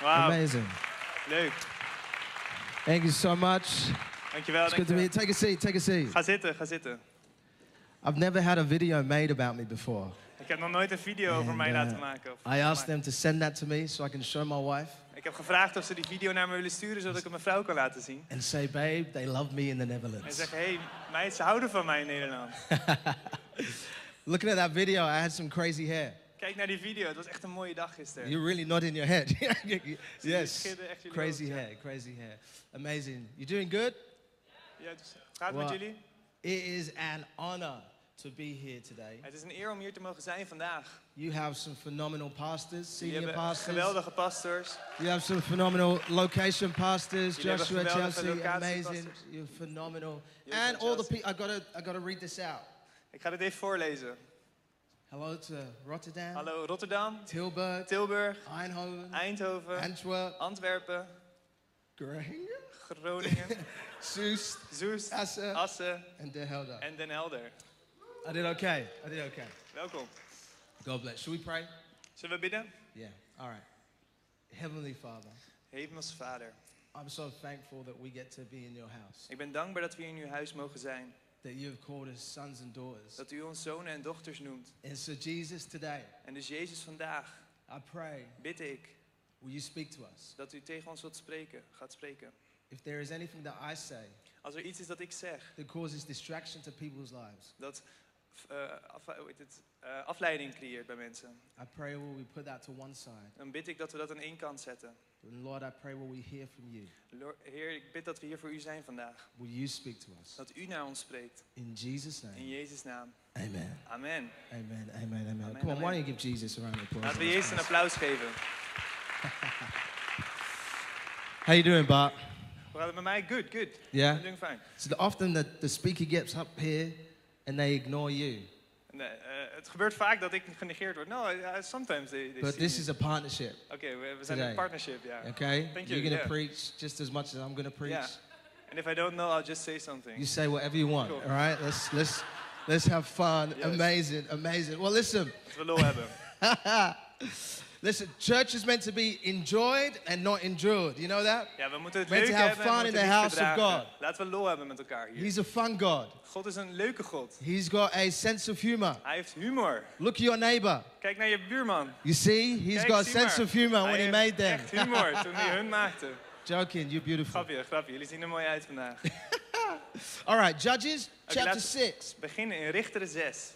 Wauw. Amazing. Leuk. Thank you so much. Dankjewel. It's good to dankjewel. be here. Take a seat, take a seat. Ga zitten, ga zitten. I've never had a video made about me before. Ik heb nog nooit een video over And, mij uh, laten maken. of I asked gemaakt. them to send that to me so I can show my wife Ik heb gevraagd of ze die video naar me willen sturen, zodat ik het mijn vrouw kan laten zien. and say, babe, they love me in the En Netherlands. zeggen, hé, hey, meid, ze houden van mij in Nederland. Looking at that video, I had some crazy hair. Kijk naar die video, het was echt een mooie dag gisteren. You're really not in your head. yes. schudden echt jullie Crazy hoofd, ja. hair, crazy hair. Amazing. You doing good? Ja, dus, gaat het Wow. met jullie? It is an honor to be here today. Het is een eer om hier te mogen zijn vandaag. You have some phenomenal pastors, Jullie senior hebben pastors. geweldige pastors. You have some phenomenal location pastors, Jullie hebben Joshua geweldige Chelsea, amazing. locatiepasters. You're phenomenal. Jullie and zijn all the Chelsea. people, I gotta, I gotta read this out. Ik ga dit even voorlezen. Hello to Rotterdam, Hallo Rotterdam, Tilburg, Tilburg, Eindhoven, Eindhoven, Antwerp, Antwerpen, Groningen, Groningen, Soest, Zoest, Assen, Assen and Den Helder. en Den Helder. I did okay. I did okay. Welkom. God bless. Should we pray? Zullen we bidden? Yeah. All right. Heavenly Father, Hemelse Vader, I'm so thankful that we get to be in your house, ik ben dankbaar dat we hier in uw huis mogen zijn. that you have called us sons and daughters. Dat u ons zonen en dochters noemt. And so, Jesus, today, En dus Jezus vandaag I pray, bid ik will you speak to us? dat u tegen ons wilt spreken, gaat spreken. If there is anything that I say Als er iets is dat ik zeg, that causes distraction to people's lives, dat eh, af- hoe heet het, eh, afleiding creëert bij mensen, I pray will we put that to one side. dan bid ik dat we dat aan één kant zetten. And Lord, I pray will we hear from you? Lord- Heer, ik bid dat we hier voor u zijn vandaag. Will you speak to us? Dat u naar ons spreekt. In Jesus' In name. Jezus' naam. Amen. Amen. Amen. Amen. Amen. Amen, Come on, why amen. don't you give Jesus a round of applause? Laten we Jezus een applaus geven. How you doing, Bart? Hoe gaat het met mij? Good, good. Yeah? Ik doe fijn. So the, often the, the speaker gets up here and they ignore you. Nee, eh, het gebeurt vaak dat ik genegeerd word. No, eh, sometimes they, they But see this me. is a partnership, Oké, we, we zijn in Today. een partnership, ja. okay? Thank You're you, going to yeah. preach just as much as I'm going to preach. Yeah. And if I don't know, I'll just say You something. say whatever you want, Cool. all right? Let's, let's, let's have fun. Yes. Amazing, amazing. Well, listen, Dat we lol hebben. listen, church is meant to be enjoyed and not endured. You know that? Ja, we moeten het Meant to leuk have hebben en fun we in moeten the liefde house of dragen. God. Laten we lol hebben met elkaar hier. He's a fun God. God is een leuke God. He's got a sense of humor. Hij heeft humor. Look at your neighbor. Kijk naar je buurman. You see, he's Kijk, got a zie sense maar. of humor Hij when he heeft made them. Echt humor toen hij hun maakte. Joking, you're beautiful. Grapje, grapje. Jullie zien er mooi uit vandaag. All right, Judges Okay, chapter let's- 6. Beginnen in Richteren 6.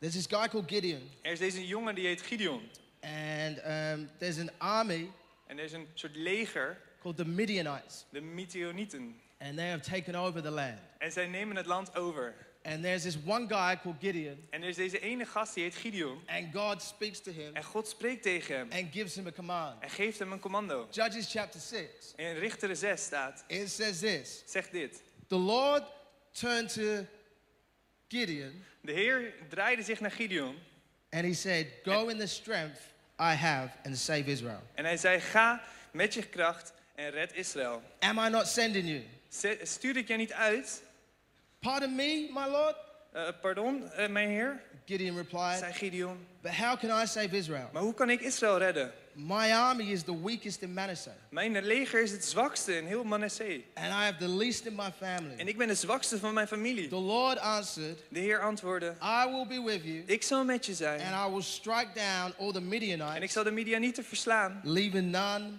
There's this guy called Gideon, Er is deze jongen die heet Gideon. and um, there's an army En er is een soort leger, called the Midianites, de Midianieten. and they have taken over the land. En zij nemen het land over. And there's this one guy called Gideon, En er is deze ene gast die heet Gideon. and God speaks to him En God spreekt tegen hem. and gives him a command. En geeft hem een commando. Judges chapter 6, In Richteren 6 staat, it says this zegt dit. The Lord turned to Gideon, De Heer draaide zich naar Gideon. and he said, Go in the strength I have and save Israel. En hij zei, ga met je kracht en red Israël. Am I not sending you? Ze- Stuur ik jij niet uit? Pardon me, my Lord? Eh, pardon, eh, mijn heer, Gideon replied, zei Gideon. But how can I save Israel? Maar hoe kan ik Israël redden? My army is the weakest in Manasseh, Mijn leger is het zwakste in heel Manasseh. and I have the least in my family. En ik ben de zwakste van mijn familie. the Lord answered, De Heer antwoordde: I will be with you, Ik zal met je and zijn. I will strike down all the En ik Midianites, zal de Midianieten verslaan. leaving none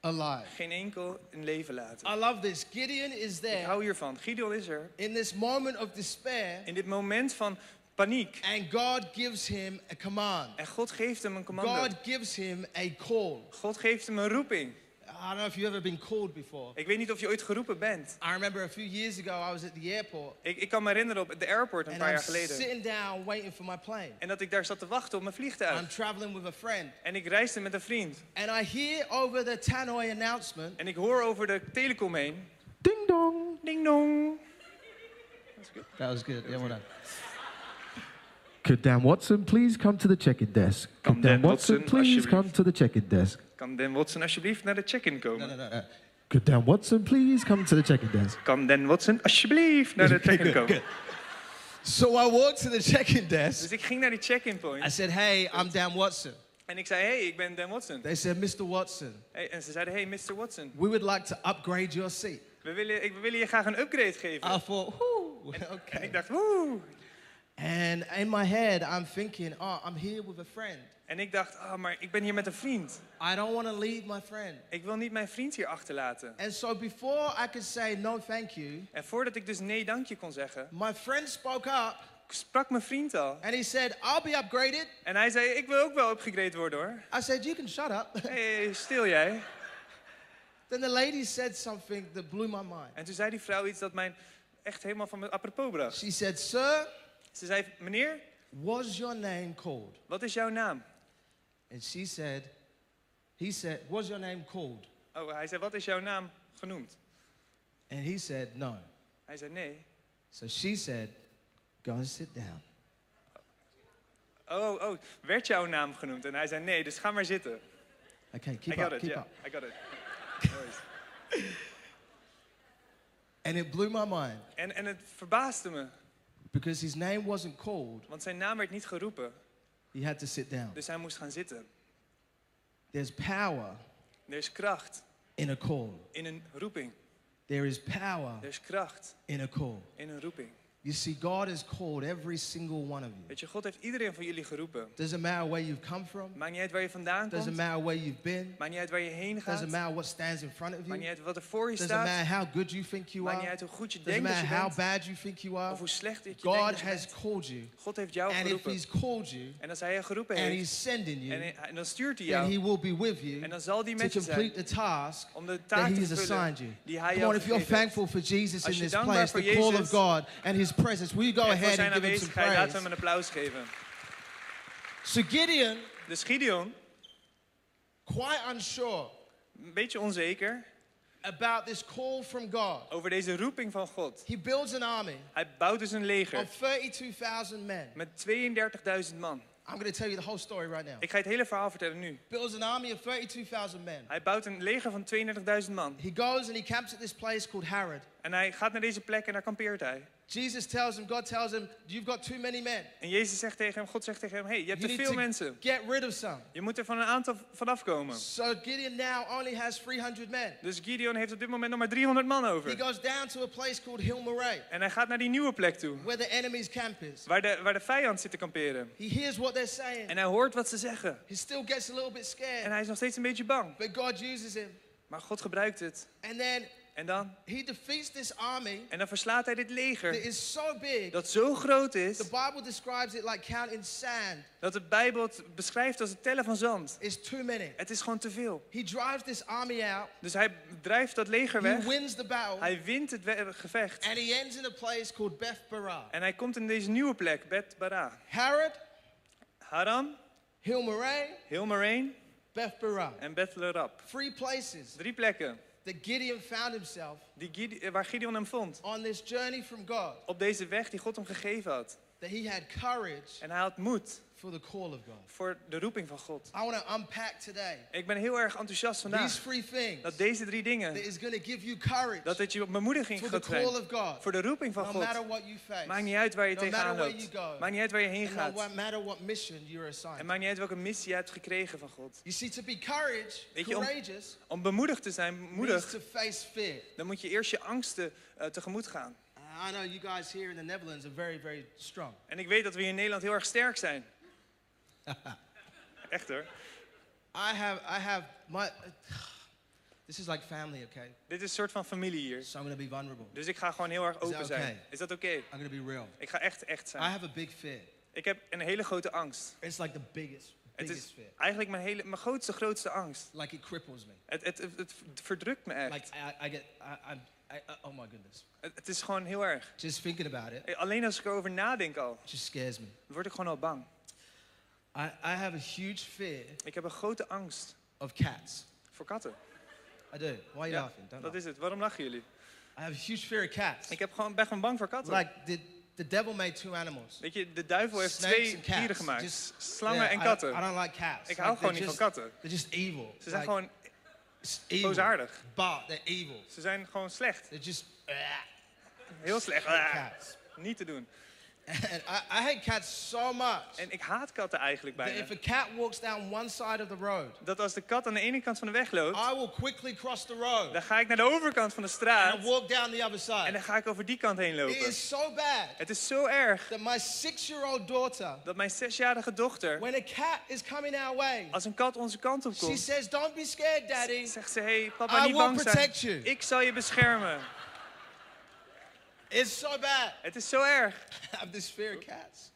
alive. Geen enkel in leven laten. I love this. Gideon is Ik there hou hiervan. Gideon is er. in this moment of despair, In dit moment van paniek. and God gives him a command. En God geeft hem een commando. God gives him a call. God geeft hem een roeping. I don't know if you've ever been called before. Ik weet niet of je ooit geroepen bent. I remember a few years ago, I was at the airport, Ik, ik kan me herinneren op de airport een and paar I'm jaar geleden. sitting down waiting for my plane. En dat ik daar zat te wachten op mijn I'm vliegtuig. traveling with a friend. En ik reisde met een vriend. And I hear over the tannoy announcement, En ik hoor over de telecom heen. ding dong. Ding dong. That was good. Yeah, well done. Could Dan Watson please come to the check-in desk? Kan Could Dan Watson alsjeblieft? to the check-in desk? Kan Dan Watson alsjeblieft naar de check-in No, komen? no, no. no. Could Dan Watson please come to the check-in desk? Kan Dan Watson alsjeblieft naar de check-in komen? So I walked to the check-in desk. Dus ik ging naar die check-in I point. said, "Hey, I'm Dan Watson. En ik zei, hey, ik ben Dan Watson. They said, Mr. Watson, Hey, en ze zeiden, hey, Mr. Watson, we would like to upgrade your seat. we willen, ik, we willen je graag een upgrade geven. I thought, whoo, En ik okay. dacht, woe. And in my head, I'm thinking, oh, I'm here with a friend. En ik dacht, ah, maar ik ben hier met een vriend. I don't want to leave my friend. Ik wil niet mijn vriend hier achterlaten. And so before I could say no, thank you, En voordat ik dus nee dankje kon zeggen, my friend spoke up sprak mijn vriend al. and he said, I'll be upgraded. En hij zei, ik wil ook wel upgrade worden hoor. I said, you can shut up. hey, stil jij. then the lady said something that blew my mind. En toen zei die vrouw iets dat mij echt helemaal van mijn apropos bracht. She said, sir, Ze zei, meneer, was your name called? wat is jouw naam? And she said, he said, was your name called? Oh, hij zei, wat is jouw naam genoemd? And he said, no. Hij zei, nee. So she said, go and sit down. Oh, oh, werd jouw naam genoemd? En hij zei, nee, dus ga maar zitten. Okay, keep I up, got it, keep yeah, up. I got it. Nice. And it blew my mind en, en het verbaasde me, because his name wasn't called. want zijn naam werd niet geroepen. He had to sit down. Dus hij moest gaan zitten. There's power Er is kracht in a call. in een roeping. There is power Er is kracht in a call. in een roeping. You see, God has called every single one of you. Weet je, God heeft iedereen van jullie geroepen. Doesn't matter where you've come from, Maakt niet uit waar je vandaan doesn't komt. matter where you've been, Maakt niet uit waar je heen gaat. doesn't Maakt matter what stands in front of niet you, uit wat er voor je doesn't matter staat. how good you think you Maakt niet are, uit hoe goed je doesn't denkt dat matter je how bent. bad you think you are. Of hoe slecht dat je denkt God dat je has bent. called you. God heeft jou And if geroepen. He's called you En als hij je geroepen and heeft, He's sending en, you, hij- en dan stuurt hij then jou. He will be with you En dan zal die to met je zijn complete the task om de that taak te He has vervullen assigned you. die hij Come on, jou if you're gegeven heeft. thankful for Jesus Als in je this dankbaar place, voor the call of Jezus God and His presence, will you go En voor ahead zijn and give Him some aanwezigheid laten we hem praise? een applaus geven. So Gideon, Dus Gideon, quite unsure een beetje onzeker about this call from God, over deze roeping van God. he builds an army Hij bouwt dus een leger of 32,000 men. met 32.000 man. I'm going to tell you the whole story right now. Ik ga je het hele verhaal vertellen nu. Builds an army of 32,000 men. Hij bouwt een leger van 32.000 man. He goes and he camps at this place called Harod. En hij gaat naar deze plek en daar kampeert hij. Jesus tells him, God tells him, you've got too many men. En Jezus zegt tegen hem, God zegt tegen hem, hey, je hebt You te need veel to mensen. get rid of some. Je moet er van een aantal vanaf komen. So Gideon now only has 300 men. Dus Gideon heeft op dit moment nog maar 300 man He over. goes down to a place called Hilmaray, En hij gaat naar die nieuwe plek toe, where the enemy's camp is. waar de, waar de vijand zit te kamperen. He hears what they're saying. En hij hoort wat ze zeggen. He still gets a little bit En scared, hij is nog steeds een beetje bang. but God uses him. Maar God gebruikt het. And then En dan? he defeats this army En dan verslaat hij dit that leger is so big. dat zo groot The is Bible describes it like counting sand. dat de Bijbel het beschrijft als het tellen van zand. It's too many. Het is gewoon te veel. He drives this army out. Dus hij drijft dat leger He weg. wins the battle, Hij wint het we- gevecht. and he ends in a place called Beth Barah. En hij komt in deze nieuwe plek, Bet Bara. Harod, Haram, Hilmaray, Hilmareen Beth Barah. en Bethlerab. Three places Drie plekken that Gideon found himself die Gide- eh, waar Gideon hem vond. on this journey from God. Op deze weg die God hem gegeven had. that he had courage En hij had moed for the call of God. voor de roeping van God. I want to unpack today Ik ben heel erg enthousiast these vandaag three things dat deze drie that dingen, is going to give you courage dat het je bemoediging for the gaat call zijn. of God, Voor de roeping van no matter God. what you face, Maakt niet uit waar je No tegenaan matter where loopt. you go. Maakt niet uit waar je heen and no gaat. matter what mission you're En assigned. maakt niet uit welke missie je hebt gekregen van God. You see, to be courage, Weet je, om- courageous, Om bemoedigd te zijn, means moedig, to face fear. dan moet je eerst je angsten eh, tegemoet gaan. I know you guys here in the Netherlands are very, very strong. En ik weet dat we hier in Nederland heel erg sterk zijn. Echt hoor. I have, I have my. this is like family, okay? Dit is een soort van familie hier. So I'm going to be vulnerable. Dus ik ga gewoon heel erg that open zijn. okay? Is dat oké? I'm going to be real. Ik ga echt echt I zijn. have a big fear. Ik heb een hele grote angst. It's like the biggest, Het biggest is fear. eigenlijk mijn, hele, mijn grootste, grootste angst. Like it cripples me. Het, het, het, het verdrukt me echt. Like I, I get, I, I'm, I, I- oh my goodness. Het, het is gewoon heel erg. Just thinking about it, Eh, Alleen als ik erover nadenk al, it just scares me. word ik gewoon al bang. I, I have a huge fear Ik heb een grote angst of cats. voor katten. I do. Why are you Ja, laughing? Don't dat laugh. is het. Waarom lachen jullie? I have a huge fear of cats. Ik heb gewoon, ben gewoon bang voor katten. Like the, the devil made two animals. Weet je, de duivel heeft Snakes twee and cats. dieren gemaakt. Just- slangen Yeah, en I- katten. I, don't like cats. ik Like, hou gewoon they're niet van just- katten. They're just evil. Ze zijn Like, gewoon it's evil. boosaardig. But they're evil. Ze zijn gewoon slecht. They're just Heel slecht. Ah, cats. niet te doen. And I, I hate cats so much En ik haat katten eigenlijk that bijna. if a cat walks down one side of the road, Dat als de kat aan de ene kant van de weg loopt, I will quickly cross the road dan ga ik naar de overkant van de straat and walk down the other en side. dan ga ik over die kant heen It lopen. is so bad Het is zo erg that my six-year-old daughter, dat mijn zesjarige dochter, when a cat is coming our way, als een kat onze kant op she komt, says, "Don't be scared, Daddy." zegt ze: Hé, hey, papa, I niet will bang zijn. protect you. Ik zal je beschermen. It's so bad. Het is zo erg. I have this fear of cats.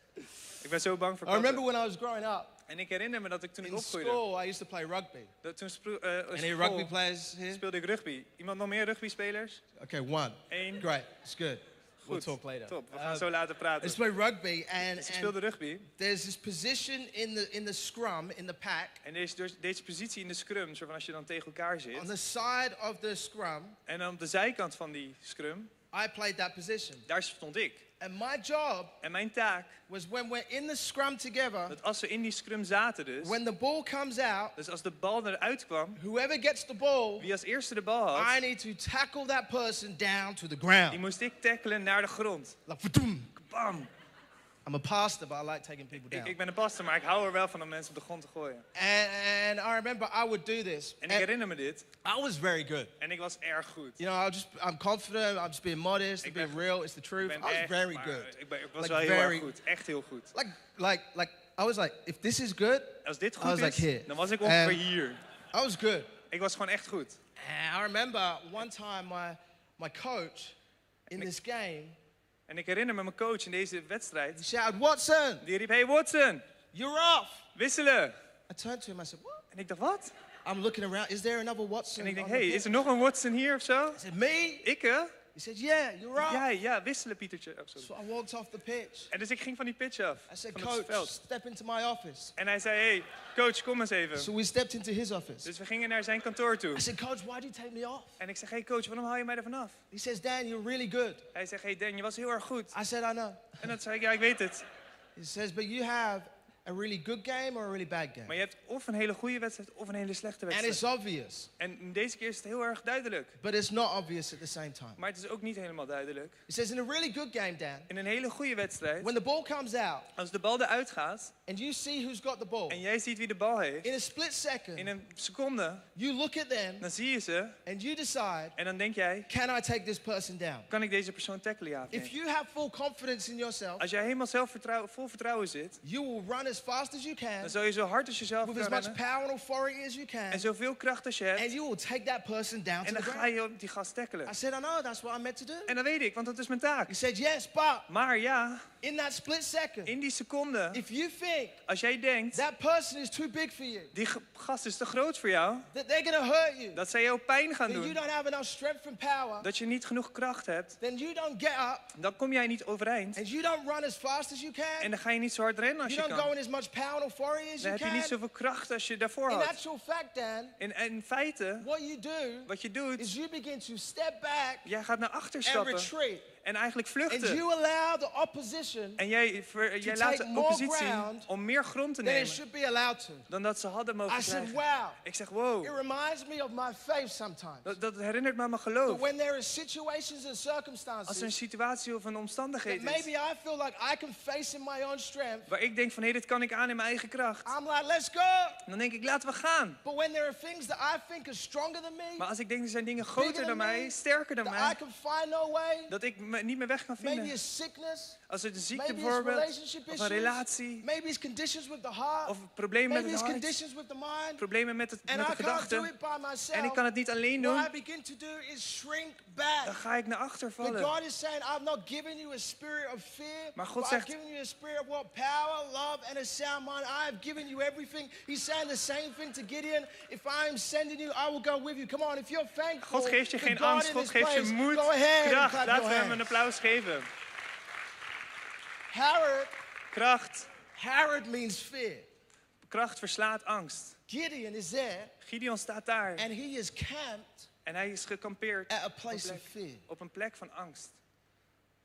Ik ben zo bang voor I remember katten. when I was growing up En ik herinner me dat ik toen ik in opgroeide, school, I used to play rugby. dat toen spro- eh, op Any school rugby players here? speelde ik rugby. Iemand nog meer rugbyspelers? Okay, one. Eén. Great. It's good. We'll Goed, talk later. top. We Uh, gaan zo laten I used praten. to play rugby, and, Ze and speelde rugby. there's this position in the in the scrum in the pack En er is dus deze positie in de scrum, soort van als je dan tegen elkaar on zit. the side of the scrum. En aan de zijkant van die scrum, I played that position, daar stond ik. and my job En mijn taak, was when we're in the scrum together, dat als we in die scrum zaten dus, when the ball comes out, dus als de bal eruit kwam, whoever gets the ball, wie als eerste de bal had, I need to tackle that person down to the die ground. moest ik tackelen naar de grond. Like, "Vadoem." Bam! I'm a pastor, but I like taking people Ik, down. ik ben een pastor, maar ik hou er wel van om mensen op de grond te gooien. And, and I remember I would do this. En ik And herinner me dit, I was very good. en ik was erg goed. You know, I just I'm confident. I'm just being modest. I'm Ik ben- being real. It's the Ik truth. ben I was echt- very maar good. Ik, ben, ik was Like wel heel very- erg goed, echt heel goed. Like like like I was like, if this is good, Als dit I goed was is, like here. dan was ik And- ongeveer hier. I was good. Ik was gewoon echt goed. And I remember one time my my coach in this game En ik herinner me mijn coach in deze wedstrijd, he shouted, Watson, die riep, hey Watson, you're off. wisselen. I turned to him. I said, what? En ik dacht, wat? Oh, I'm looking around. Is there another Watson? En ik denk, on the hey, pitch?" is er nog een Watson hier of zo? I said, me? Ik, hè? He said, yeah, you're off. Ja, ja, wisselen, Pietertje. Oh, sorry. So I walked off the pitch. En dus ik ging van die pitch af, I said, van het Coach, veld. step into my office. En hij zei, hey, coach, kom eens even. So we stepped into his office. Dus we gingen naar zijn kantoor toe. I said, Coach, why'd you take me off? En ik zeg, hey coach, waarom haal je mij er vanaf? He says, Dan, you're really good. Hij zegt, hey Dan, je was heel erg goed. I said, I know. En dan zei ik, ja, ik weet het. He says, but you have a really good game or a really bad game. Maar je hebt of een hele goede wedstrijd, of een hele slechte And wedstrijd. it's obvious, En deze keer is het heel erg duidelijk. but it's not obvious at the same time. Maar het is ook niet helemaal duidelijk. He says, in a really good game, Dan, In een hele goede wedstrijd, when the ball comes out als de bal eruit gaat and you see who's got the ball, en jij ziet wie de bal heeft, in a split in second, een seconde, you look at them dan zie je ze and you decide, en dan denk jij, can I take this person down? kan ik deze persoon tackelen ja of nee? If you have full confidence in yourself, Als jij helemaal zelfvertrouwen, vol vertrouwen zit, you will run as fast as you can dan zal je zo hard als jezelf with kan as much rennen power and authority as you can, en zoveel kracht als je hebt and you will take that person down en to the dan ga ground. je op die gast tackelen. I said, I know, that's what I'm meant to do. En dat weet ik, want dat is mijn taak. He said, yes, but Maar ja, in that split second, in die seconde, if you think als jij denkt, that person is too big for you, die ge- gast is te groot voor jou, that they're going to hurt you, dat zij jou pijn gaan that you doen, don't have enough strength and power, dat je niet genoeg kracht hebt, then you don't get up dan kom jij niet overeind. and you don't run as fast as you En can, dan ga je niet zo hard rennen als you je don't go kan. in as much power and authority as you Dan heb je niet can. zoveel kracht als je daarvoor In had. actual fact, Dan, In, in feite, what you do wat je doet, is you begin to step back jij gaat naar achter and stappen retreat. en eigenlijk And vluchten. you allow the opposition En jij, ver- jij laat take de more oppositie ground om meer grond te than it nemen should be allowed to. dan dat ze hadden mogen I said, krijgen. wow, Ik zeg, it wow, reminds me of my faith sometimes. dat, dat herinnert me aan mijn But geloof. when there is situations and Als er een circumstances situatie of een omstandigheid that is maybe I feel like I can face in my own strength, waar ik denk van, hé, dit kan ik aan in mijn eigen kracht. I'm like, let's go. Dan denk ik, laten we gaan. But when there are things that I think are stronger than me, Maar als ik denk, er zijn dingen Bigger groter than dan me, mij, sterker dan that I mij, can find no way, dat ik me niet meer weg kan maybe vinden. it's sickness, Als het een ziekte maybe it's bijvoorbeeld, relationship of een issues, relatie, maybe it's conditions with the heart, of problemen maybe met it's het hart, conditions with the mind, problemen met, het, and met I de can't do gedachten. it by En ik myself. kan het niet alleen What I doen, begin to do is shrink dan back. ga ik naar achter But vallen. God is saying, I've not given you a spirit of fear, Maar God but I've zegt- given you a spirit of what? Power, love, and a sound mind. I have given you everything. He's saying the same thing to Gideon. If I am sending you, I will go with you. Come on, if you're thankful, God geeft je to geen God angst, in God this geeft je place, moed, go ahead and kracht. clap Laten your we hem een hands. applaus geven. Herod, Kracht. Herod means fear. Kracht verslaat angst. Gideon is there, Gideon staat daar and he is camped en hij is gekampeerd at a place of fear. op een plek van angst.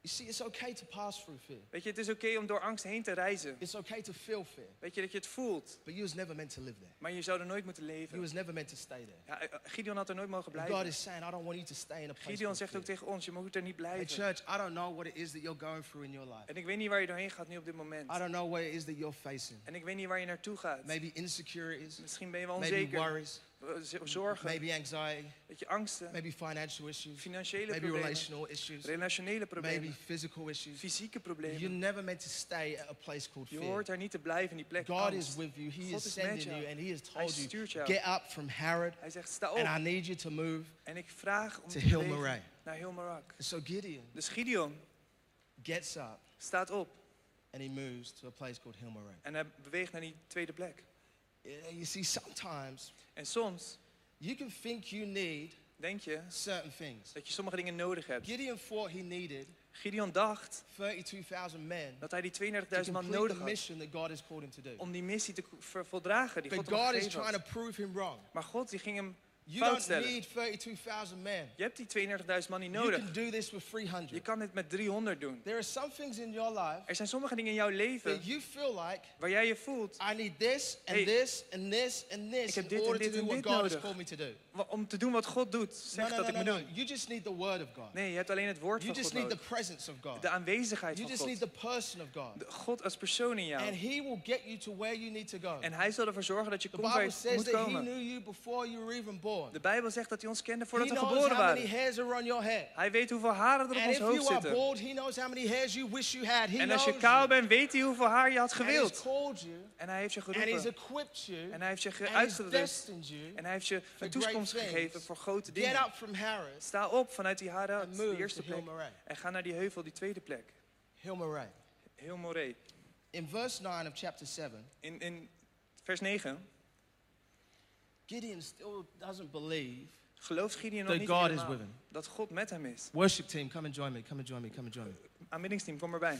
You see, it's okay to pass through fear. Weet je, het is oké om door angst heen te reizen. It's okay to feel fear. Weet je dat je het voelt, But you was never meant to live there. maar je zou er nooit moeten You leven. was never meant to stay there. Ja, eh, Gideon had er nooit mogen And God blijven. is saying, I don't want you to stay in a place. Gideon called zegt ook fear." tegen ons, je moet er niet Hey, blijven. church, I don't know what it is that you're going through in your life. En ik weet niet waar je doorheen gaat nu op dit moment. I don't know what it is that you're facing. En ik weet niet waar je naartoe gaat. Maybe insecurities, Misschien ben je wel maybe onzeker. worries, eh, z- Zorgen, maybe anxiety, weet je, angsten, maybe financial issues, financiële maybe problemen, relational issues, relationele Dus maybe problemen, physical issues. fysieke You're problemen. never meant to stay at a place called Je fear. hoort daar niet te blijven in die plek. God angst. is with you. He God is is met sending jou. you, and He has Hij told you, stuurt jou. get up from Harrod, Hij zegt, sta and I op. need you to move. En ik vraag om to te Hill bewegen Marais. naar heel Marak. And so Gideon Dus Gideon gets up staat op and he moves to a place called Hilmarang. en hij beweegt naar die tweede plek. You see, sometimes En soms you can think you need denk je certain things. dat je sommige dingen nodig hebt. Gideon thought he needed Gideon dacht 32,000 men dat hij die to 32.000 man complete the nodig had mission that God has called him to do. om die missie te ver- voldragen die But God hem God is gegeven trying to had. prove him wrong. Maar God die ging hem You fout don't stellen. need 32,000 men. Je hebt die 32.000 man niet You can nodig. do this with Je 300. kan dit met 300 doen. There are some things in your life Er zijn sommige dingen in jouw leven that you feel like waar jij je voelt I need this and Hey. this and this and this heb in dit en order dit to do en what dit God has nodig. called me to do. wa- om te doen wat God doet. No, Zeg no, dat no, ik no, moet no. doen. You just need the word of God. Nee, je hebt alleen het woord You van God just need the nodig. presence of God. De aanwezigheid You van just need God. the person of God. De- God als persoon in And jou. He will get you to where you need to go. En hij zal ervoor zorgen dat je The komt waar Bible je says moet that He komen. knew you before you were even born. De Bijbel zegt dat hij ons kende He voordat we knows geboren how many waren. hairs are on your head. Hij weet hoeveel haren er op And ons if you hoofd are zitten. bald, He knows how many hairs you wish you had. He En knows als je you. kaal bent, weet hij hoeveel haar je had And He's gewild. called you. En hij heeft je And He's geroepen. equipped you. En hij heeft je ge- And He's uitgerust. destined you. En hij heeft je een great toekomst things. gegeven voor grote Get dingen. up from Harris. Sta op vanuit die Harad, And de move eerste to Hill plek. Marais. En ga naar die heuvel, die tweede plek. Hill Marais. Heel Moré. In verse 9 of chapter 7, In, in vers 9 Gideon still doesn't believe. gelooft Gideon nog That niet God is helemaal with him. dat God met hem is. Worship team, come and join me. Come and join me. Come and join me. Aanbiddingsteam, kom erbij.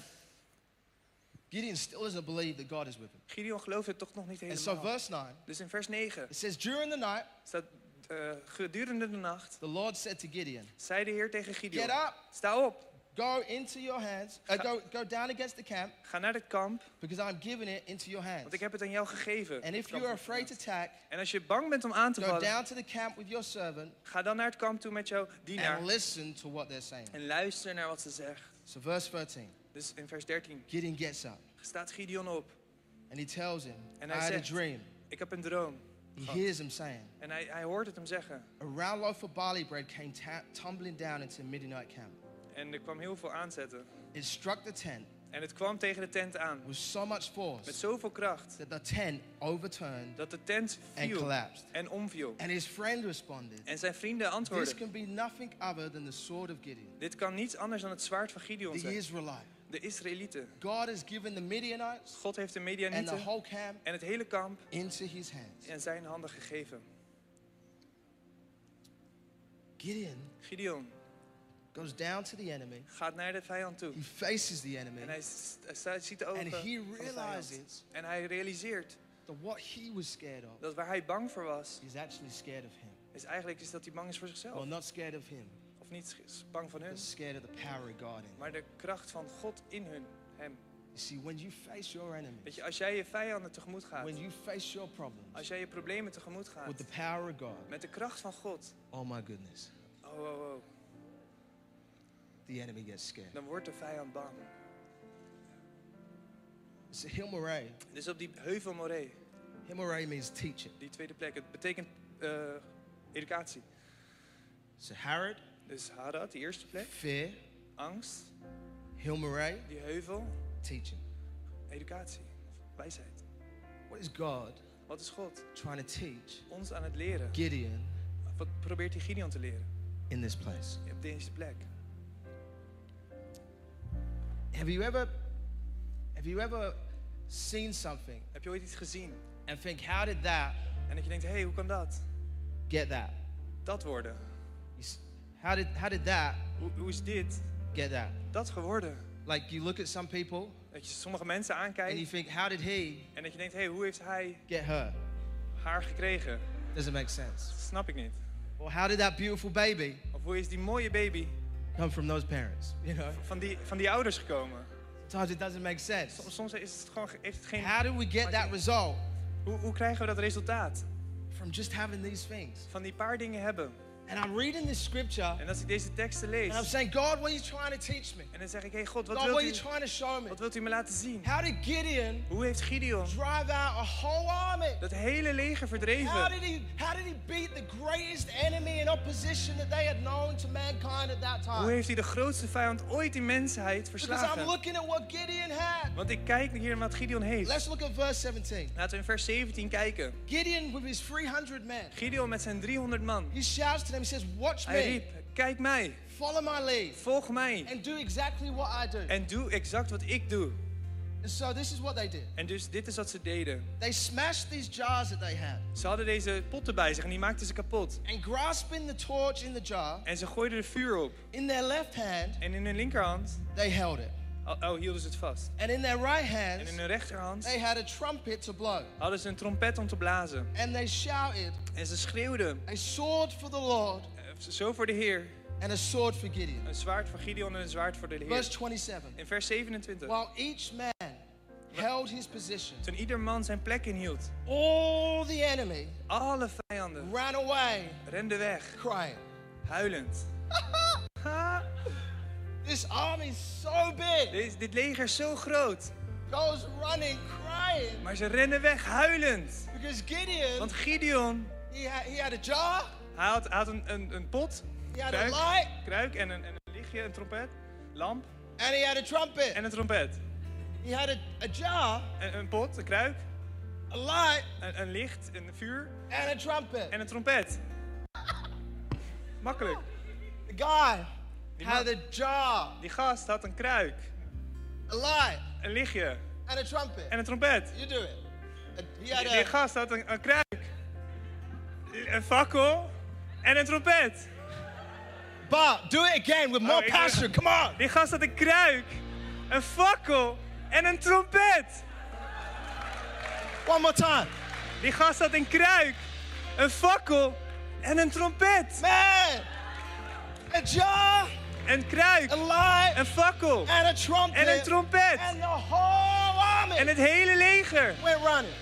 Gideon still doesn't believe that God is with him. Gideon gelooft het toch nog niet And so, helemaal. verse 9, Dus in vers 9 it says, During the night, staat eh, gedurende de nacht the Lord said to Gideon, zei de Heer tegen Get Gideon. up, Sta op, go into your hands, uh, go, go down against the camp, ga naar het kamp, because I'm giving it into your hands. want ik heb het aan jou gegeven. And if you are afraid to attack, En als je bang bent om aan te go vallen, down to the camp with your servant ga dan naar het kamp toe met jouw and dienaar listen to what they're saying. en luister naar wat ze zegt. So, verse 13, Dus in vers 13 Gideon gets up staat Gideon op. and he tells him, And I I had a said- dream. Ik heb een droom. He hears him saying, En hij, hij hoort het hem zeggen. A round loaf of barley bread came ta- tumbling down into midnight camp. En er kwam heel veel aanzetten. It struck the tent En het kwam tegen de tent aan. with so much Met force zoveel kracht that the tent overturned dat de tent and viel collapsed. en omviel. And his friend responded, En zijn vrienden This antwoordden. can be nothing other than the sword of Gideon, Dit kan niets anders dan het zwaard van Gideon the zijn. Israelite. De Israëlieten. God has given the Midianites God heeft de and the Medianieten whole camp en het hele kamp into his hands. in zijn handen gegeven. Gideon Gideon goes down to the enemy, gaat naar de vijand toe. he faces the enemy, En hij, s- hij staat- ziet de ogen and van he de vijand. realizes En hij realiseert that what he was scared of dat waar hij bang voor was, is actually scared of him. is eigenlijk is dat hij bang is voor Well, zichzelf. not scared of him, Of niet s- bang van hun, but scared of the power of God in him. maar de kracht van God in hun, hem. You see, when you face your Weet enemies, je, als jij je vijanden tegemoet gaat, when you face your problems als jij je problemen tegemoet gaat, with the power of God, met de kracht van God, oh my goodness, oh, oh, oh, the enemy gets scared. dan wordt de vijand bang. So Hilmaray, Dus op die heuvel Moré, Hilmaray means teacher. die tweede plek, het betekent eh, educatie. So Harrod, Dus Harad, die eerste plek, fear, angst, Hilmaray, die heuvel, teaching. educatie, wijsheid. What is God Wat is God? trying to teach Ons aan het leren. Gideon Wat probeert die Gideon te leren in this place? op deze plek? Have you ever, have you ever seen something Heb je ooit iets gezien? and think, how did that En dat je denkt, hé, hey, hoe kan dat? get that? Dat worden. You s- How did how did that Hoe, hoe is dit get that? dat geworden? Like you look at some people Dat je sommige mensen and you aankijkt think, how did he en dat je denkt, hé, hey, hoe heeft hij get her? haar gekregen? Doesn't make sense. Dat snap ik niet. Or how did that beautiful baby Of hoe is die mooie baby come from those parents, you know? van die, van die ouders gekomen. Sometimes it doesn't make sense. Soms- Soms is het gewoon, ge- heeft het geen... How do we get that result Hoe, hoe krijgen we dat resultaat? from just having these things? Van die paar dingen hebben. And I'm reading this scripture En als ik deze teksten lees... and I'm saying, God, what are you trying to teach me? En dan zeg ik, hey God, wat God, what wilt, are you u, trying to show me? wat wilt u me laten zien? How did Gideon Hoe heeft Gideon drive out a whole army? dat hele leger How verdreven? did he how did he beat the greatest enemy and opposition that they had known to mankind at that Hoe time? heeft hij de grootste vijand ooit in mensheid Because I'm verslagen? looking at what Gideon had. Want ik kijk hier naar wat Gideon heeft. Let's look at verse 17. Laten we in vers 17 kijken. Gideon with his 300 men, Gideon met zijn 300 man. he shouts to them, he says, Watch Hij me, riep, kijk mij, follow my lead, volg mij. and do exactly what I do. En doe exact wat ik doe. And so this is what they did. En dus dit is wat ze deden. They smashed these jars that they had, Ze hadden deze potten bij zich en die maakten ze kapot. and grasping the torch in the jar, En ze gooiden er vuur op. in their left hand, En in hun linkerhand they held it. oh, oh, hielden ze het vast. And in their right En hand, in hun rechterhand they had a trumpet to blow. hadden ze een trompet om te blazen. And they shouted, En ze schreeuwden, A sword for the Lord eh, zo voor de Heer. and a sword for Gideon. Een zwaard voor Gideon en een zwaard voor de Verse Heer. 27. In vers 27. While each man held his position, Toen ieder man zijn plek inhield, all the enemy alle vijanden ran away renden weg, crying. huilend. Ha, This army's so big, dit, dit leger is zo groot, goes running crying maar ze rennen weg huilend. because Gideon, Want Gideon, he had, he had a jar, hij had, hij had een, een, een pot, he had a Kijk. light, kruik en een, en een lichtje, een trompet, lamp and he had a trumpet. en een trompet. He had a, a jar, Een, een pot, een kruik, a light, een, een licht, een vuur and a trumpet. en een trompet. Makkelijk. The guy Die, had man- a jar, die gast had een kruik, a light, een lichtje and a trumpet. en een trompet. You do it. Uh, He had Die, die a, gast had een, een kruik, een fakkel en een trompet. Bob, do it again with more ik- passion. Come on. Die gast had een kruik, een fakkel en een trompet. One more time. Die gast had een kruik, een fakkel en een trompet. Man, a jar, Een kruik, a light, een fakkel and a trumpet. en een trompet. And the whole army En het hele leger went running.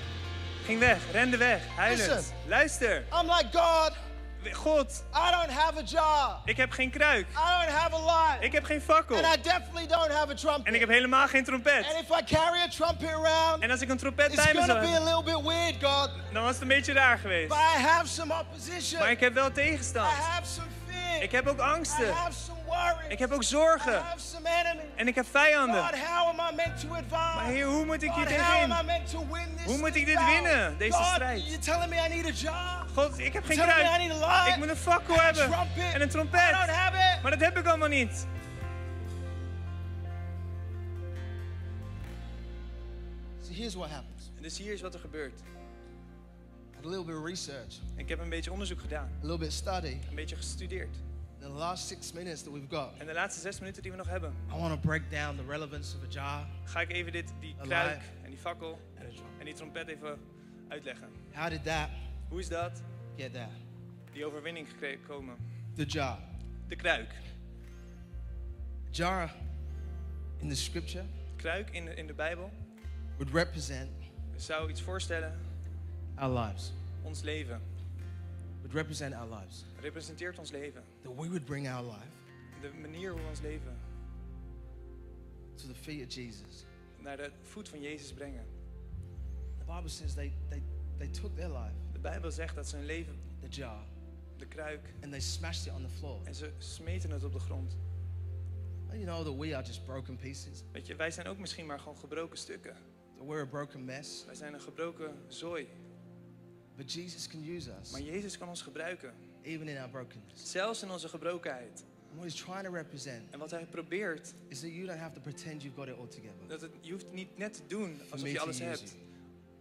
ging weg, rende weg, huilend. Listen. Luister, I'm like, God, God, I don't have a jar. ik heb geen kruik, I don't have a light. ik heb geen fakkel and I definitely don't have a trumpet. en ik heb helemaal geen and trompet. if I carry a trumpet around, En als ik een trompet it's bij me going zou to be a hebben, little bit weird, God. dan was het een beetje raar But geweest. I have some opposition. Maar ik heb wel I tegenstand. have some fear. Ik heb ook I angsten. have some worry. Ik heb ook I zorgen. have some enemies. En ik heb vijanden. God, how am I meant to advance? Maar Heer, hoe moet ik hier God, how am I tegenin? meant to win this Hoe moet ik dit battle? winnen, deze God, strijd? You're telling me I need a job. God, ik heb geen Tell me I kruik. need a light. Ik moet een fakkel hebben trumpet. en een I don't trompet. have it. Maar dat heb ik allemaal niet. So here's what happens. En dus hier is wat er gebeurt. I had a little bit of research, Ik heb een beetje onderzoek gedaan, a little bit of study. een beetje gestudeerd. In the last six minutes that we've got, En de laatste zes minuten die we nog hebben, I want to break down the relevance of a jar ga ik even dit, die Een kruik light. en die fakkel and a trumpet. en die trompet even uitleggen. How did that Hoe is dat? get that? Die overwinning gekomen. The jar. De kruik. Jar in the scripture Kruik in de, in de Bijbel would represent zou iets voorstellen. our lives. Ons leven Would represent our lives. representeert ons leven. That we would bring our life De manier hoe we ons leven to the feet of Jesus. naar de voet van Jezus brengen. The Bible says they, they, they took their life, De Bijbel zegt dat ze hun leven, the jar, de kruik, and they smashed it on the floor. en ze smeten het op de grond. And you know that we are just broken pieces, Weet je, wij zijn ook misschien maar gewoon gebroken stukken. that we're a broken mess, Wij zijn een gebroken zooi. but Jesus can use us Maar Jezus kan ons gebruiken, even in our brokenness. zelfs in onze gebrokenheid. And what he's trying to represent En wat hij probeert, is that you don't have to pretend you've got it all together. dat het, je hoeft niet net te doen For alsof me je to alles use hebt.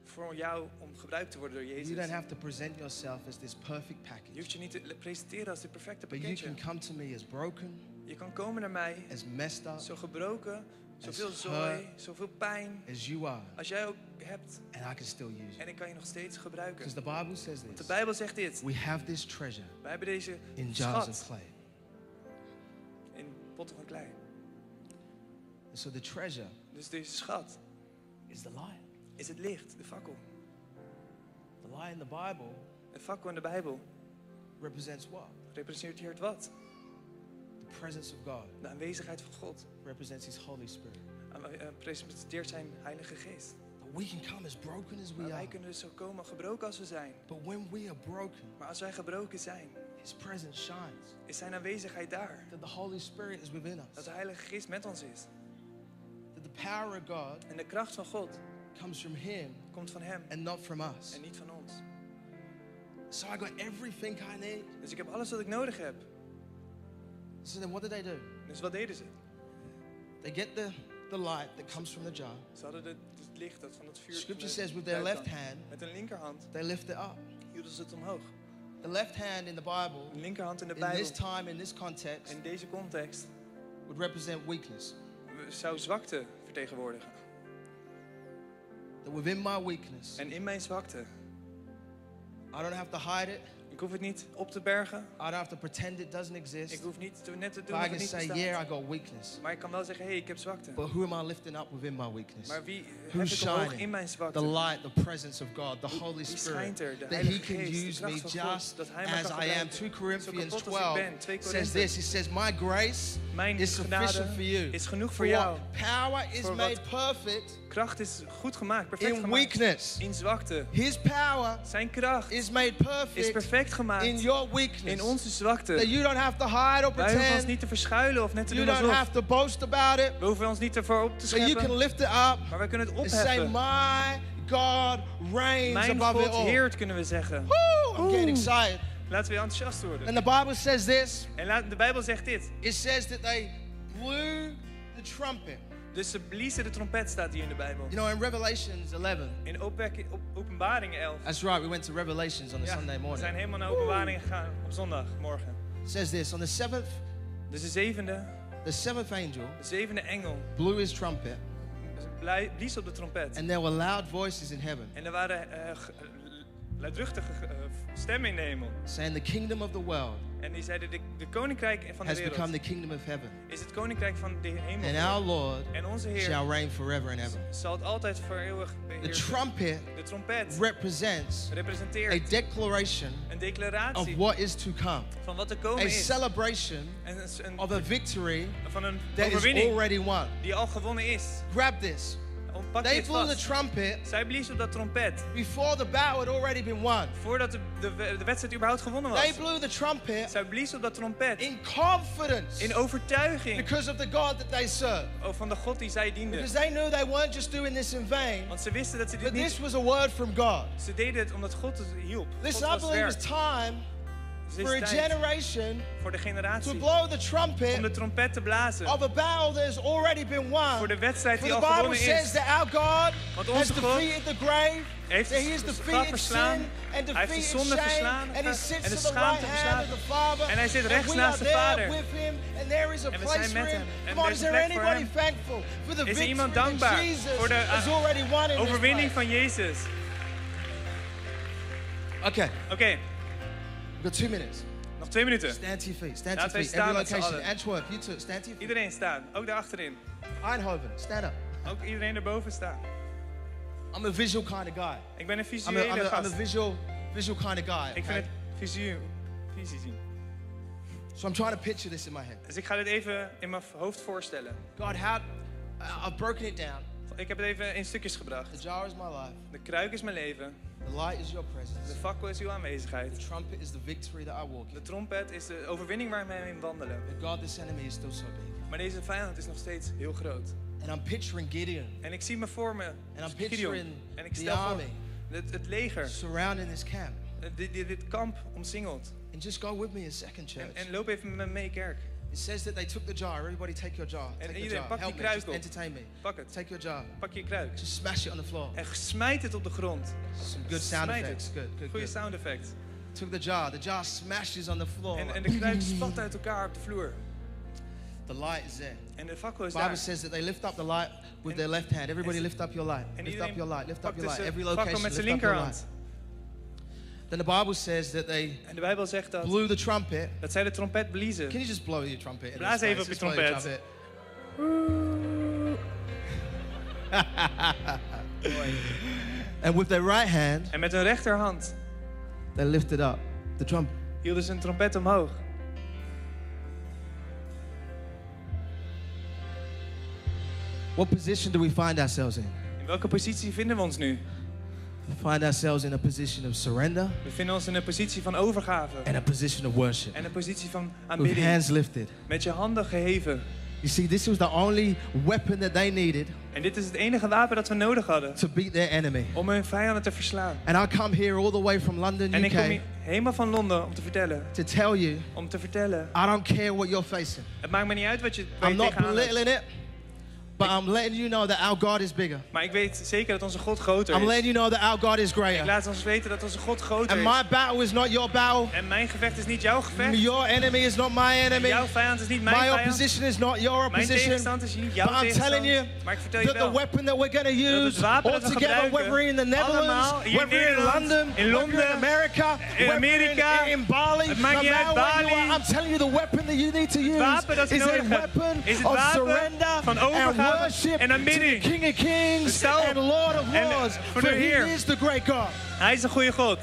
Voor jou om gebruikt te worden door you. You don't Jezus. have to present yourself as this perfect Je package, hoeft je niet te presenteren als de perfecte but you can pakketje. come to me as broken, Je kan komen naar mij, as messed up zo gebroken, zoveel As zooi, hurt. zoveel pijn. as you are, Als jij ook hebt, and I can still use you. en ik kan je nog steeds gebruiken. Because the Bible says De this Bijbel zegt dit. we have this treasure Wij hebben deze in jars of schat clay. in potten van klei. And so the treasure Dus deze schat is the light. is het licht, de fakkel. The light in the Bible Een fakkel in de Bijbel represents what? representeert hier het wat? The presence of God De aanwezigheid van God. represents His Holy Spirit. Aan- eh, Representeert zijn heilige geest. But we can come as broken as Maar we are. wij kunnen dus zo komen gebroken als we zijn. But when we are broken, Maar als wij gebroken zijn, His presence shines. is zijn aanwezigheid daar. That the Holy Spirit is within Dat us. de heilige geest met ons is. That the power of God En de kracht van God comes from Him komt van hem and not from us. en niet van ons. So I got everything I need. Dus ik heb alles wat ik nodig heb. So then what did they do? Dus wat deden ze? They get the, the light that comes from the jar. Ze hadden de- het licht dat van het vuur. van Scripture de says with their duif left kwam. hand, Met een linkerhand they lift it up. hielden ze het omhoog. The left hand in the Bible, Een linkerhand in de in this Bijbel. time, in this context, In deze context would represent weakness. zou zwakte vertegenwoordigen. That within my weakness, En in mijn zwakte, I don't have to hide it. ik hoef het niet op te bergen. I don't have to pretend it doesn't Ik exist. hoef niet te, net te But doen I of het can niet say, bestaat. yeah, I got weakness. Maar ik kan wel zeggen, hé, hey, ik heb zwakte. But who am I lifting up within my weakness? Maar wie heb Who's ik omhoog in shining? mijn The zwakte? light, the presence of God, the Holy Wie Spirit. schijnt er? De That He Heilige can Geest, de use me kracht van God. just Dat hij me as I kan am. gebruiken. 2 Corinthians Zo kapot als ik 12 ben. 2 says Korinthe. this He says, My grace Mijn is genade sufficient for you. is genoeg For voor jou. what? Power is Voor wat? made perfect Kracht is goed gemaakt, perfect in gemaakt. weakness. In zwakte. His power Zijn kracht is made is perfect perfect in gemaakt your in weakness. onze That zwakte. you don't have to hide or Wij hoeven ons pretend. niet te verschuilen of net te You doen don't alsof. have to boast about it. We hoeven ons niet ervoor op te So you can scheppen, lift it up maar wij kunnen het and say, opheffen. My God reigns Mijn above it God all. heert, kunnen we zeggen. Woo! I'm getting Ooh. excited. Laten we enthousiast worden. And the Bible says this En laat- de Bijbel zegt dit. it says that they blew the trumpet. Dus ze bliezen de trompet, staat hier in de Bijbel. You know, in Revelations 11, In opwek- op, openbaring 11. that's right, we went to Revelations on a Ja, Sunday we zijn morning. helemaal naar openbaring gegaan op zondagmorgen. It says this on the seventh, Dus de zevende, the seventh angel de zevende engel blew his trumpet, Dus blij- blies op de trompet. and there were loud voices in heaven En er waren eh, ge- eh, luidruchtige eh, stemmen in de hemel. saying, The kingdom of the world En die zeiden, de, de koninkrijk van de has become wereld the kingdom of heaven, is het koninkrijk van de hemel. and our Lord En onze Heer shall reign forever and ever. zal het altijd voor eeuwig The beheersen. trumpet De trompet represents a representeert declaration een of declaratie what is to come, van wat er komen a is. celebration En een- een- of a victory van een that is overwinning already won. die al gewonnen is. Grab this. Om- Pak They dit blew the vast. trumpet Zij blies op dat trompet before the battle had already been won. voordat de, de, de wedstrijd überhaupt gewonnen They was. blew the trumpet Zij blies op dat trompet in confidence in overtuiging because of the God that they serve. Oh, van de God die zij diende. Because they knew they weren't just doing this in vain, Want ze wisten dat ze dit but niet this was a word from God. Ze deden het omdat God het hielp. God Listen, I was believe sterk. it's time Dus for a het is tijd generation voor de to generatie blow the om de trumpet trompet te blazen. of a battle that has already been won. Voor de wedstrijd For die the al Bible gewonnen says is. that our God Want has onze God defeated the grave, that heeft He has de straf defeated verslaan. sin and Hij heeft de defeated zonde shame, verslaan eh, and He en sits de at the right schaamte hand of verslagen. the Father, En hij zit rechts and we are naast de there Vader. with Him, and there is a En we place zijn for met Him. hem. En Come on, er is is there plek voor anybody hem. thankful for the Is er victory iemand that dankbaar Jesus voor de, eh, has already won in this Overwinning place? van Jezus. Okay, Oké, we've got two minutes. nog twee minuten. Stand to your feet. Stand Laten to your wij feet. staan Every met z'n location. allen. Antwerp, you too. Stand to your feet. Iedereen staan, ook daar achterin. Eindhoven, stand up. Ook iedereen erboven staan. I'm a visual kind of guy. Ik ben een I'm a, I'm visuele a, I'm a gast. visual, visual kind of guy. Ik vind okay? het visueel. Visie zien. So I'm trying to picture this in my head. Dus ik ga dit even in mijn hoofd voorstellen. God, how I- I've broken it down. Ik heb het even in stukjes gebracht. The jar is my life. De kruik is mijn leven. The light is your De presence. fakkel is uw The aanwezigheid. trumpet is the victory that I walk in. De trompet is de overwinning waar wij in wandelen. But God, this enemy is still so big. Maar deze vijand is nog steeds heel groot. And I'm picturing Gideon En ik zie me voor me. I'm Gideon. picturing En ik the stel voor army. het, het leger, surrounding this camp. het- dit, dit, dit kamp omsingeld. And just go with me a second, church. En, en loop even met me mee, kerk. it says that they took the jar. Everybody take your jar. En Take your iedereen, jar. pak Help die me. Just kruik op. entertain me. Pak het. Take your jar. Pak je kruik. Just smash it on the floor. En smijt het op de grond. Some good sound Smijt effects. het. Good, good, Goeie good. sound effect. Took the jar. The jar smashes on the floor. En, like, en de kruik spat uit elkaar op de vloer. the light is there. En de fakkel is Bible daar. says that they lift up the light with their left hand. Everybody en- lift up your light. En Lift up your light. iedereen Lift up pakt your dus light. Every de fakkel location met zijn lift up your light. linkerhand. Then the Bible says that they En de Bijbel zegt dat, blew the trumpet. dat zij de trompet bliezen. Can you just blow your trumpet? in Blaas this even op place? je Just blow trompet. and with their right hand, En met hun rechterhand they lifted up the trumpet. hielden ze een trompet omhoog. What position do we find ourselves in? In welke positie vinden we ons nu? We find ourselves in a position of surrender We vinden ons in een positie van overgave. and a position of worship. En een positie van With aanbidding. hands lifted. Met je handen geheven. You see, this was the only weapon that they needed En dit is het enige wapen dat we nodig hadden. to beat their enemy. Om hun vijanden te verslaan. And I come here all the way from London, En ik kom UK, hier helemaal van Londen om te vertellen. to tell you Om te vertellen. I don't care what you're facing. Het maakt me niet uit wat je, waar I'm je not tegenaan loopt. belittling it, but I'm letting you know that our God is bigger. Maar ik weet zeker dat onze God groter I'm is. letting you know that our God is Ik greater. laat ons weten dat onze God groter And is. my battle is not your battle. En mijn gevecht is niet jouw gevecht. Your enemy is not my enemy. Jouw vijand is niet mijn My vijand. opposition is not your Mijn opposition. tegenstand is niet But jouw I'm telling you tegenstand. Maar ik vertel je that the wel. weapon that we're going to use wapen dat we altogether, gebruiken, whether we're in the allemaal Netherlands, hier whether we're in Nederland, London, in whether we're in Londen, America, in whether we're Amerika, in, in Bali, het maakt no niet matter uit, where you Bali. are, I'm telling you the weapon that you need to use wapen dat je is a nodig hebt, weapon is het of wapen surrender van and overgave worship en to the aanbidding. King of Kings sta op and Lord of en, eh, Lords, voor de for He Heer. is the great God. Hij is een goede God.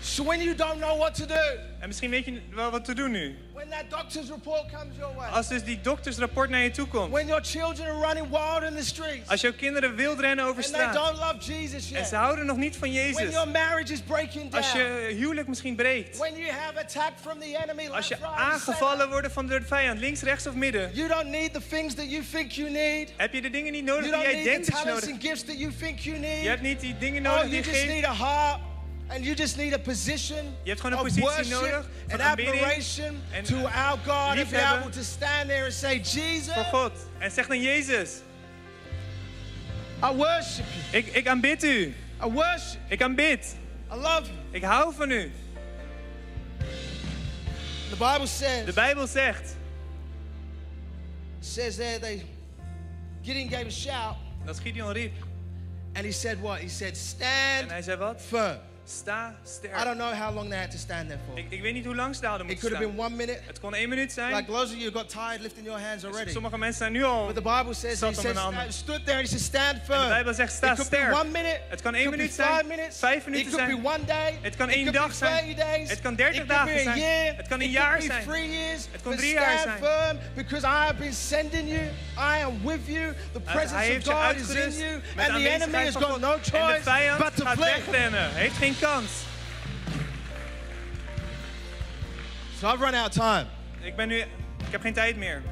So when you don't know what to do, En misschien weet je wel wat te doen nu. when that doctor's report comes your way, Als dus die doktersrapport naar je toe komt. when your children are running wild in the streets, Als jouw kinderen wild rennen over and they straat. don't love Jesus En yet, ze houden nog niet van when Jezus. your marriage is breaking down, Als je huwelijk misschien breekt. when you have attack from the enemy, Als je left, right, and aangevallen center, wordt van de vijand. Links, rechts of midden. you don't need the things that you think you need. Heb je de dingen niet You nodig die don't jij need denkt the dat je talents nodig and gifts that you think you need. Je hebt niet die dingen Oh, nodig you just die geeft. need a heart. And you just need a position Je hebt gewoon of een positie worship nodig and van aanbidding admiration en to our God and be liefhebben. able to stand there and say, Jesus, Voor God. En zeg dan Jezus. I worship you. Ik, ik aanbid u. I worship Ik aanbid. you. I love you. Ik hou van u. The Bible De says, Bijbel zegt says there they Gideon gave a shout dat Gideon riep. and he said what? He said, En hij stand zei wat? firm. Sta I don't sterk. know how long they had to stand there for. Ik, ik weet niet hoe lang ze daar hadden It moeten could have been staan. one minute. Het kon één minuut zijn. Like loads of you got tired lifting your hands already. Sommige mensen zijn nu al. But the Bible says he Zat hem said, in de handen. sta- stood there and he said, stand firm. de Bijbel zegt, sta it could sterk. Be one minute, Het kan it één could be minuut zijn, five minutes, vijf minuten it could zijn. Be one day, Het kan it één could be dag zijn. 30 Days, Het kan 30 it could dagen be a zijn. Year, Het kan een it jaar could be zijn. Three years, Het kon but drie jaar stand zijn. firm because I have been sending you. I am with you. The presence Eh, Hij of heeft je God is in uitgerust you. met And the aanwezigheid enemy has van got God. no En de choice vijand but to gaat flee. wegrennen. Heeft geen kans. So I've run out of time. Ik ben nu... Ik heb geen tijd meer.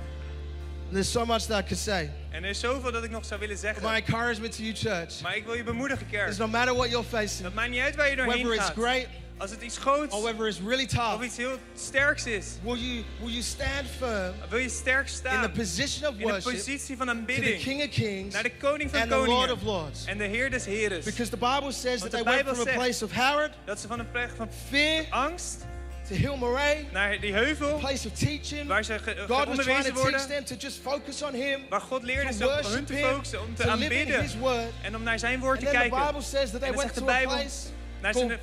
There's so much that I could say. En er is zoveel dat ik nog zou willen zeggen. My encouragement to you, church, Maar ik wil je bemoedigen, kerk. is no matter what you're facing, Het maakt niet uit waar je whether doorheen it's gaat. great Als het iets groots or whether it's really of tough, iets heel sterks is. will you will you stand firm Wil je sterk in the staan. position of In de worship positie van to the aanbidding. King of Kings Naar de koning van and the Lord of koningen. Lords. En de Heer des Heeres. Because the Bible says Oh. that Want they de went Bijbel from a zegt- place of Herod, Dat ze van een plek van fear, angst to Hill Murray, naar die a heuvel place of teaching. waar ze ge- God was trying to onderwezen teach worden. them to just focus on Him, Waar God leerde to ze op hun worship te Him, focussen, om te to live in aanbidden. His word. En om naar zijn woord And te then the kijken. Bible says that they En dan went zegt de to a Bijbel place naar called zijn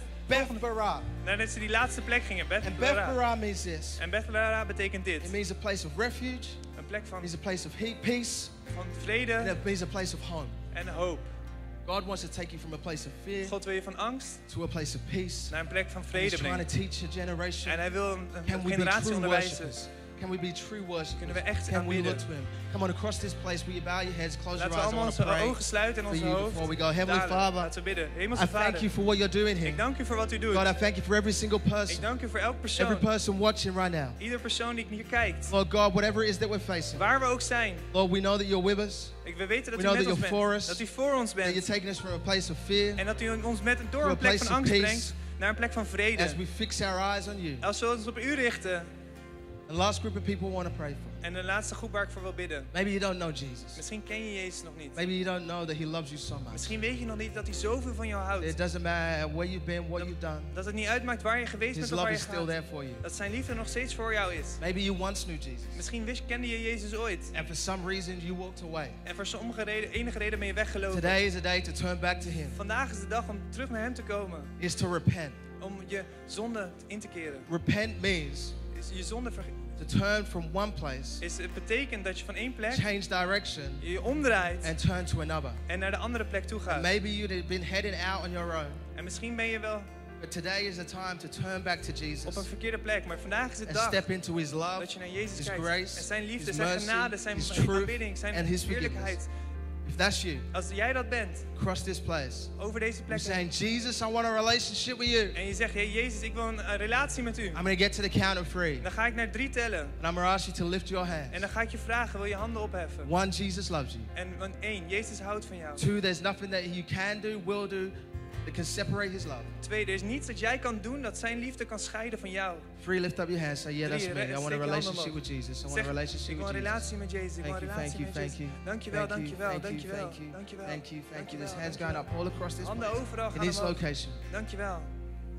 Beth Barah. nadat ze die laatste plek gingen. And Beth Beth Barah. Barah means this. En Beth Barah betekent It dit. means a place of refuge, Een plek it van, means a place of heat, peace, van and vrede it means a place of home. en hoop. God wants to take you from a place of fear God wil je van angst to a place of peace. naar een plek van And He's vrede trying brengen. to teach a generation. En hij wil een, een Can we be generatie true onderwijzen. worshippers? Can we be true worshippers? Kunnen we echt Can we aanbidden? look to Him? Come on, across this place, will you bow your heads, close your Laten we eyes, I allemaal want to onze pray. ogen sluiten en onze you hoofd before we go. Heavenly dalen. Father, Laten we bidden. I Hemelse thank you Vader, for what you're doing here. ik dank u voor wat u God, I doet. thank you for every single Ik person, dank u voor elk every persoon. person watching right now. Ieder persoon die hier kijkt. Lord God, whatever it is that we're facing, Waar we ook zijn. Lord, we know that you're with us, Ik, we weten dat We u know met that ons you're for us. bent. Dat u voor ons that you're bent. taking us from a place of fear En dat u ons met een door To a een plek place van of angst peace. brengt naar een plek van as we vrede. fix our eyes on you. Als we ons op u richten And The last group of people I want to pray for. En de laatste groep waar ik voor wil bidden. Maybe you don't know Jesus. Misschien ken je Jezus nog niet. Maybe you don't know that He loves you so much. Misschien weet je nog niet dat hij zoveel van jou It houdt. doesn't matter where you've been, what you've done. Dat het niet uitmaakt waar je geweest His bent of love waar je is still there gaat. for you. Dat zijn liefde nog steeds voor jou is. Maybe you once knew Jesus, Misschien wist, kende je Jezus ooit. and for some reason you walked away. En voor sommige reden, enige reden ben je weggelopen. Today is a day to turn back to Him, Vandaag is de dag om terug naar hem te komen. is to repent. Om je zonde in te keren. Repent means Is je zonde verge- to turn from one place, is, het betekent dat je van één plek change direction, je omdraait and turn to another. en naar de andere plek toe gaat. Maybe you'd have been heading out on your own, En misschien ben je wel but today is the time to turn back to op een Jesus verkeerde plek. Maar vandaag is het and dag step into His love, dat je naar Jezus His kijkt. grace, en zijn liefde, His zijn mercy, genade, zijn His truth, aanbidding, and zijn His eerlijkheid. If that's you, Als jij dat bent, cross this place. over deze You're plek heen, saying, Jesus, I want a relationship with you. en je zegt, hey Jezus, ik wil een, een relatie met u. I'm going to get to the count of three, Dan ga ik naar drie tellen. and I'm going to ask you to lift your hands. En dan ga ik je vragen, wil je handen opheffen? One, Jesus loves you. En want één, Jezus houdt van jou. Two, there's nothing that you can do, will do, that can separate his love. Twee, er is niets dat jij kan doen dat zijn liefde kan scheiden van jou. Three, lift up your hands. Say, yeah, that's Drie, me. I want a steek je handen relationship omhoog. with Jesus. I want Zeg, a ik relationship wil een with Jesus. relatie met Jezus, ik wil Thank een you, thank relatie you, met thank you. Jezus. Dankjewel, Thank you, dankjewel, thank you, dankjewel, thank you, dankjewel. Thank you, thank you. dankjewel, There's hands going up all across this Handen place. overal, In gaan each omhoog. location. Dankjewel.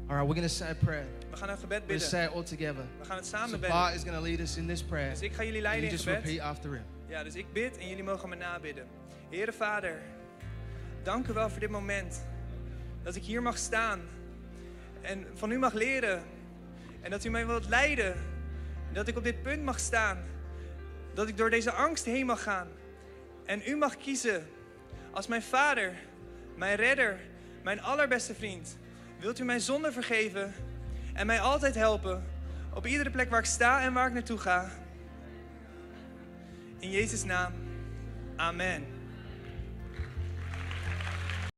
All right, we're going to say a prayer. We gaan een gebed We're going to bidden. say it all together. We gaan het samen bidden. Sabar is going to lead us in this prayer. Dus ik ga jullie And you leiden in just gebed. repeat after him. Ja, dus ik bid en jullie mogen me nabidden. Heere Vader, dank u wel voor dit moment. Dat ik hier mag staan. En van u mag leren. En dat u mij wilt leiden. Dat ik op dit punt mag staan. Dat ik door deze angst heen mag gaan. En u mag kiezen. Als mijn vader, mijn redder, mijn allerbeste vriend. Wilt u mijn zonde vergeven. En mij altijd helpen. Op iedere plek waar ik sta en waar ik naartoe ga. In Jezus' naam. Amen.